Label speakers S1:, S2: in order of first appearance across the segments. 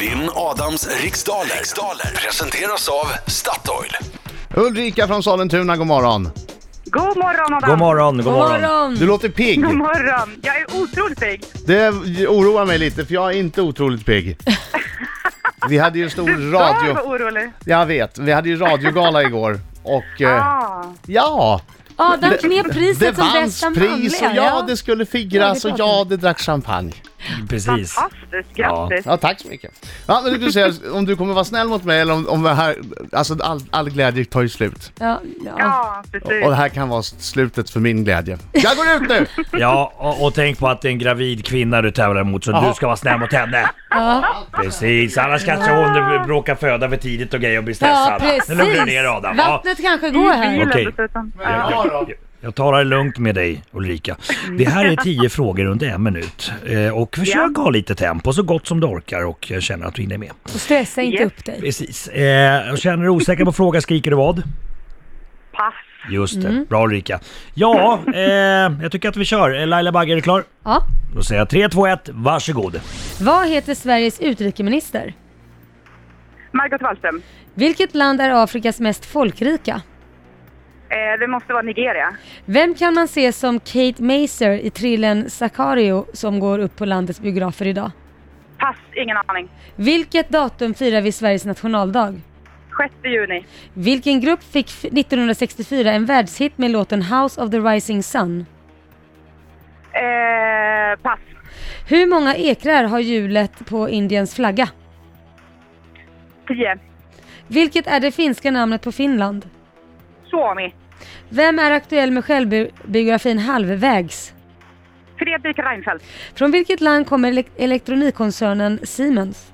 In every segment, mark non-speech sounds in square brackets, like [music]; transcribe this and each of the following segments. S1: Vinn Adams riksdaler. riksdaler presenteras av Statoil.
S2: Ulrika från Sollentuna, god morgon.
S3: God morgon Adam!
S4: God morgon, god
S5: God
S4: morgon.
S5: Mm. morgon!
S2: Du låter pigg.
S3: God morgon. Jag är otroligt pigg.
S2: Det oroar mig lite för jag är inte otroligt pigg. Vi hade ju en stor
S3: Jag var
S2: radio...
S3: orolig.
S2: Jag vet, vi hade ju radiogala igår. Och eh,
S3: Ah.
S2: ja,
S5: Adam
S2: Det-
S5: knep
S2: det
S5: priset som
S2: vanns
S5: bästa
S2: pris och
S5: manliga.
S2: ja, det skulle firas och
S5: Ja, det är klart.
S2: ja, det drack champagne.
S4: Precis.
S5: [laughs]
S3: Fantastiskt, grattis!
S2: Ja, tack så mycket. Ja, men du säger om du kommer vara snäll mot mig eller om, om det här, alltså all, all glädje tar ju slut.
S5: Ja, ja.
S3: Ja, precis.
S2: Och det här kan vara slutet för min glädje. Jag går ut nu!
S4: Ja, och, och tänk på att det är en gravid kvinna du tävlar mot så
S2: Jaha.
S4: du ska vara snäll mot henne.
S5: ja.
S4: Precis, annars kanske hon råkar föda för tidigt och grejer och blir
S5: ja
S4: stressad.
S5: precis!
S4: Nu lugnar du ner Adam. Ja. Mm.
S5: Vattnet kanske går här.
S3: Bilen
S4: Okej.
S3: dessutom.
S4: Jag,
S3: Ja.
S4: jag, jag tar det lugnt med dig Ulrika. Det här är tio frågor under en minut. Eh, och försök ha lite tempo så gott som du orkar och jag känner att du hinner med.
S5: Och stressa inte
S3: Yes.
S5: upp dig.
S4: Precis. Eh, och känner du osäker på frågan skriker du vad?
S3: Pass.
S4: Just
S5: Mm.
S4: det, bra Ulrika. Ja, eh, jag tycker att vi kör. Eh, Laila Bagge, är du klar?
S5: Ja.
S4: Då säger jag 3, 2, 1, varsågod.
S5: Vad heter Sveriges utrikesminister?
S3: Margot Wallström.
S5: Vilket land är Afrikas mest folkrika?
S3: Eh, det måste vara Nigeria.
S5: Vem kan man se som Kate Maser i thrillern Sakario som går upp på landets biografer idag?
S3: Pass, ingen aning.
S5: Vilket datum firar vi Sveriges nationaldag?
S3: 6 juni.
S5: Vilken grupp fick f- 1964 en världshit med låten House of the Rising Sun?
S3: Eh, pass.
S5: Hur många ekrar har hjulet på Indiens flagga?
S3: 10.
S5: Vilket är det finska namnet på Finland?
S3: Suomi.
S5: Vem är aktuell med självbiografin Halvvägs?
S3: Fredrik Reinfeldt.
S5: Från vilket land kommer elek- elektronikkoncernen Siemens?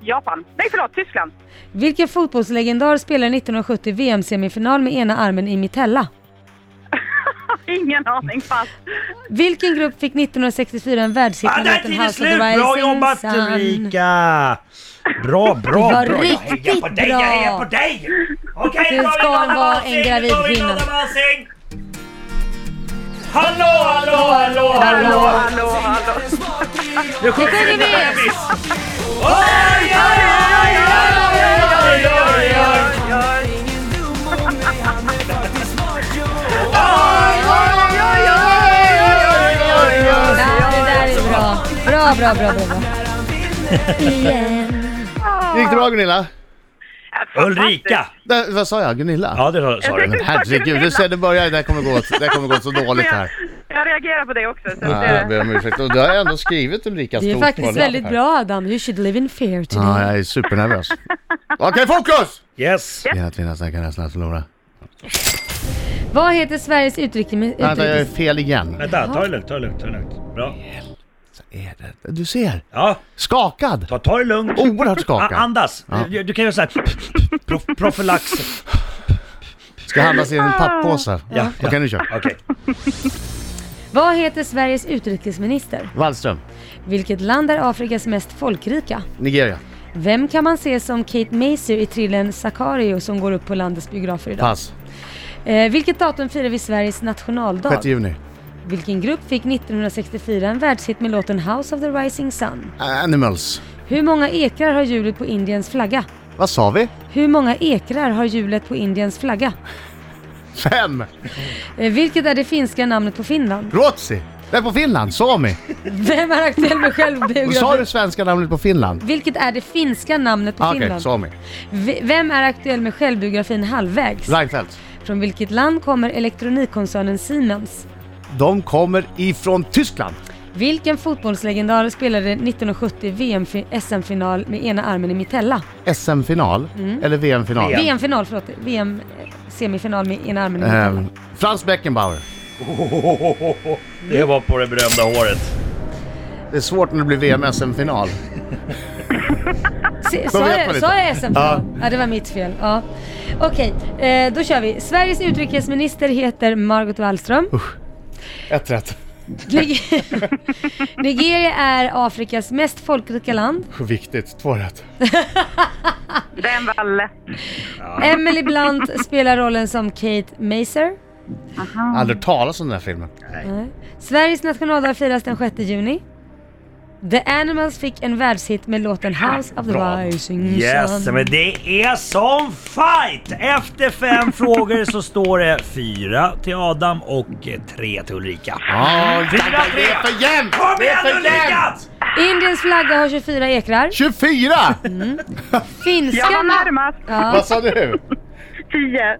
S3: Japan. Nej, förlåt. Tyskland. [laughs]
S5: Vilken fotbollslegendar spelar 1970 VM-semifinal med ena armen i mitella?
S3: Ingen aning. Pass. Eh,
S5: Vilken grupp fick 1964 en världshit
S4: Ah,
S5: med
S4: där är
S5: låten
S4: tiden
S5: House of the
S4: slut! Bra
S5: Rising
S4: jobbat
S5: Sun?
S4: Ulrika! Bra, bra, bra!
S5: var
S4: Jag hejar
S5: riktigt
S4: på dig, jag
S5: bra.
S4: hejar på dig! Okej,
S5: Du
S4: då har vi
S5: ska
S4: Adam
S5: vara
S4: Alsing,
S5: en gravid
S4: då har vi
S5: kvinna.
S4: Adam Alsing. Hallå, hallå, hallå,
S3: Hallå, hallå,
S4: hallå!
S3: hallå.
S4: Nu
S5: sjunger vi.
S4: Oj, oj, oj, oj, oj, oj, oj!
S5: Ja, det där är bra. Bra, bra, bra, bra. bra.
S2: Gick det bra Gunilla?
S4: Ulrika!
S2: Nej, vad sa jag? Gunilla?
S4: Ja, det sa
S3: Jag
S4: du.
S3: tyckte-
S2: Herregud, du ser det börjar, det här kommer gå, åt- det här kommer gå så dåligt här.
S3: Jag reagerar på det också. Så
S2: Ja,
S3: det-
S2: jag ber om ursäkt. Och du har ändå skrivit Ulrika
S5: Det är
S2: stort på
S5: faktiskt
S2: lapp
S5: väldigt
S2: här.
S5: bra Adam. You should live in fear today.
S2: Ja, jag är
S4: [laughs]
S2: supernervös. Okej, fokus!
S4: Yes.
S2: Hela tiden snackar nästan att förlora.
S5: Vad heter Sveriges utrikes...
S2: Vänta, jag är
S5: utrikes...
S2: fel igen.
S4: Vänta, ta det lugnt, ta det lugnt, ta det lugnt. Bra.
S2: Du ser!
S4: Ja,
S2: Skakad!
S4: ta, ta det lugnt.
S2: Oerhört
S4: A-
S2: skakad.
S4: andas. Du, du kan göra så här. Prof, profylax.
S2: Ska handlas i en papppåse.
S4: Ja,
S2: Okej, nu kör vi.
S4: Okej.
S5: Vad heter Sveriges utrikesminister?
S2: Wallström,
S5: Vilket land är Afrikas mest folkrika?
S2: Nigeria.
S5: Vem kan man se som Kate Maser i thrillern Sakario som går upp på landets biografer idag?
S2: Pass.
S5: Eh, vilket datum firar vi Sveriges nationaldag?
S2: 6 juni.
S5: Vilken grupp fick 1964 en världshit med låten House of the Rising Sun?
S2: Animals.
S5: Hur många ekrar har hjulet på Indiens flagga?
S2: Vad sa vi?
S5: Hur många ekrar har hjulet på Indiens flagga?
S2: Fem!
S5: Eh, vilket är det finska namnet på Finland?
S2: Ruotsi! Det är på Finland, Sami.
S5: Vem är aktuell med
S2: Sa
S5: självbiografi?
S2: du svenska namnet på Finland?
S5: Vilket är det finska namnet på
S2: Ah, Okej,
S5: Finland?
S2: Sami.
S5: V- Vem är aktuell med självbiografin Halvvägs?
S2: Reinfeldt.
S5: Från vilket land kommer elektronikkoncernen Siemens?
S2: De kommer ifrån Tyskland.
S5: Vilken fotbollslegendar spelade 1970 VM SM-final med ena armen i mitella?
S2: SM-final eller VM-final?
S4: VM.
S5: VM-final, förlåt. VM-semifinal med ena armen i mitella.
S2: Ehm, Frans Beckenbauer.
S4: Det var på det berömda håret.
S2: Det är svårt när det blir VM-SM-final.
S5: Se- Sa
S2: vet man
S5: jag,
S2: inte.
S5: sa jag SM-final? Ja. det var mitt fel. Ja. Okej, eh, då kör vi. Sveriges utrikesminister heter Margot Wallström.
S2: Ett rätt.
S5: Nig- [laughs] Nigeria är Afrikas mest folkrika land.
S2: Viktigt. Två rätt.
S3: Den var lätt.
S5: Emily Blunt spelar rollen som Kate Maser.
S2: Aldrig talas om den här filmen.
S5: Sveriges nationaldag firas den 6 juni. The Animals fick en världshit med låten House of the Rising
S4: Yes,
S5: Sun.
S4: men det är som fight! Efter fem frågor så står det fyra till Adam och eh, tre till Ulrika.
S2: Ja,
S4: Fyra,
S2: det är
S4: tre!
S2: för jämnt!
S4: Kom
S2: Det är
S4: igen
S2: för
S4: Ulrika!
S2: jämnt!
S5: Indiens flagga har 24 ekrar.
S2: 24!
S3: Jag var
S5: Finskarna,
S3: närmast.
S5: ja,
S4: [laughs]
S2: Vad sa du?
S3: Tio.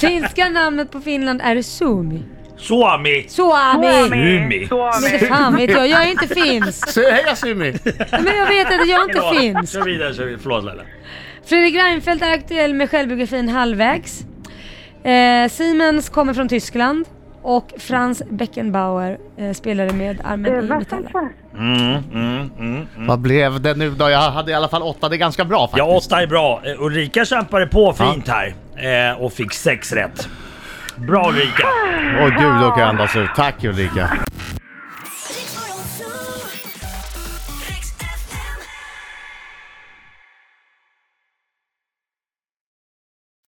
S5: finska namnet på Finland är Suomi.
S4: Suomi!
S5: Suomi!
S4: Sumi.
S5: Men
S3: Suomi.
S5: inte fan vet jag, jag är inte
S4: [laughs]
S5: finsk.
S2: Säg Hej Sumi!
S5: Men jag vet inte, jag är inte finsk.
S4: Kör vidare, kör vidare. Förlåt Laila.
S5: Fredrik Reinfeldt är aktuell med självbiografin Halvvägs. Eh, Siemens kommer från Tyskland. Och Franz Beckenbauer eh, spelade med
S3: Eh,
S5: armen i metaller.
S4: Mm, mm, mm.
S2: Vad blev det nu då? Jag hade i alla fall åtta, det är ganska bra faktiskt.
S4: Ja, åtta är bra. Eh, Ulrika kämpade på fint här eh, och fick sex rätt. Bra Ulrika!
S2: Åh gud, då kan jag andas ut. Tack Ulrika.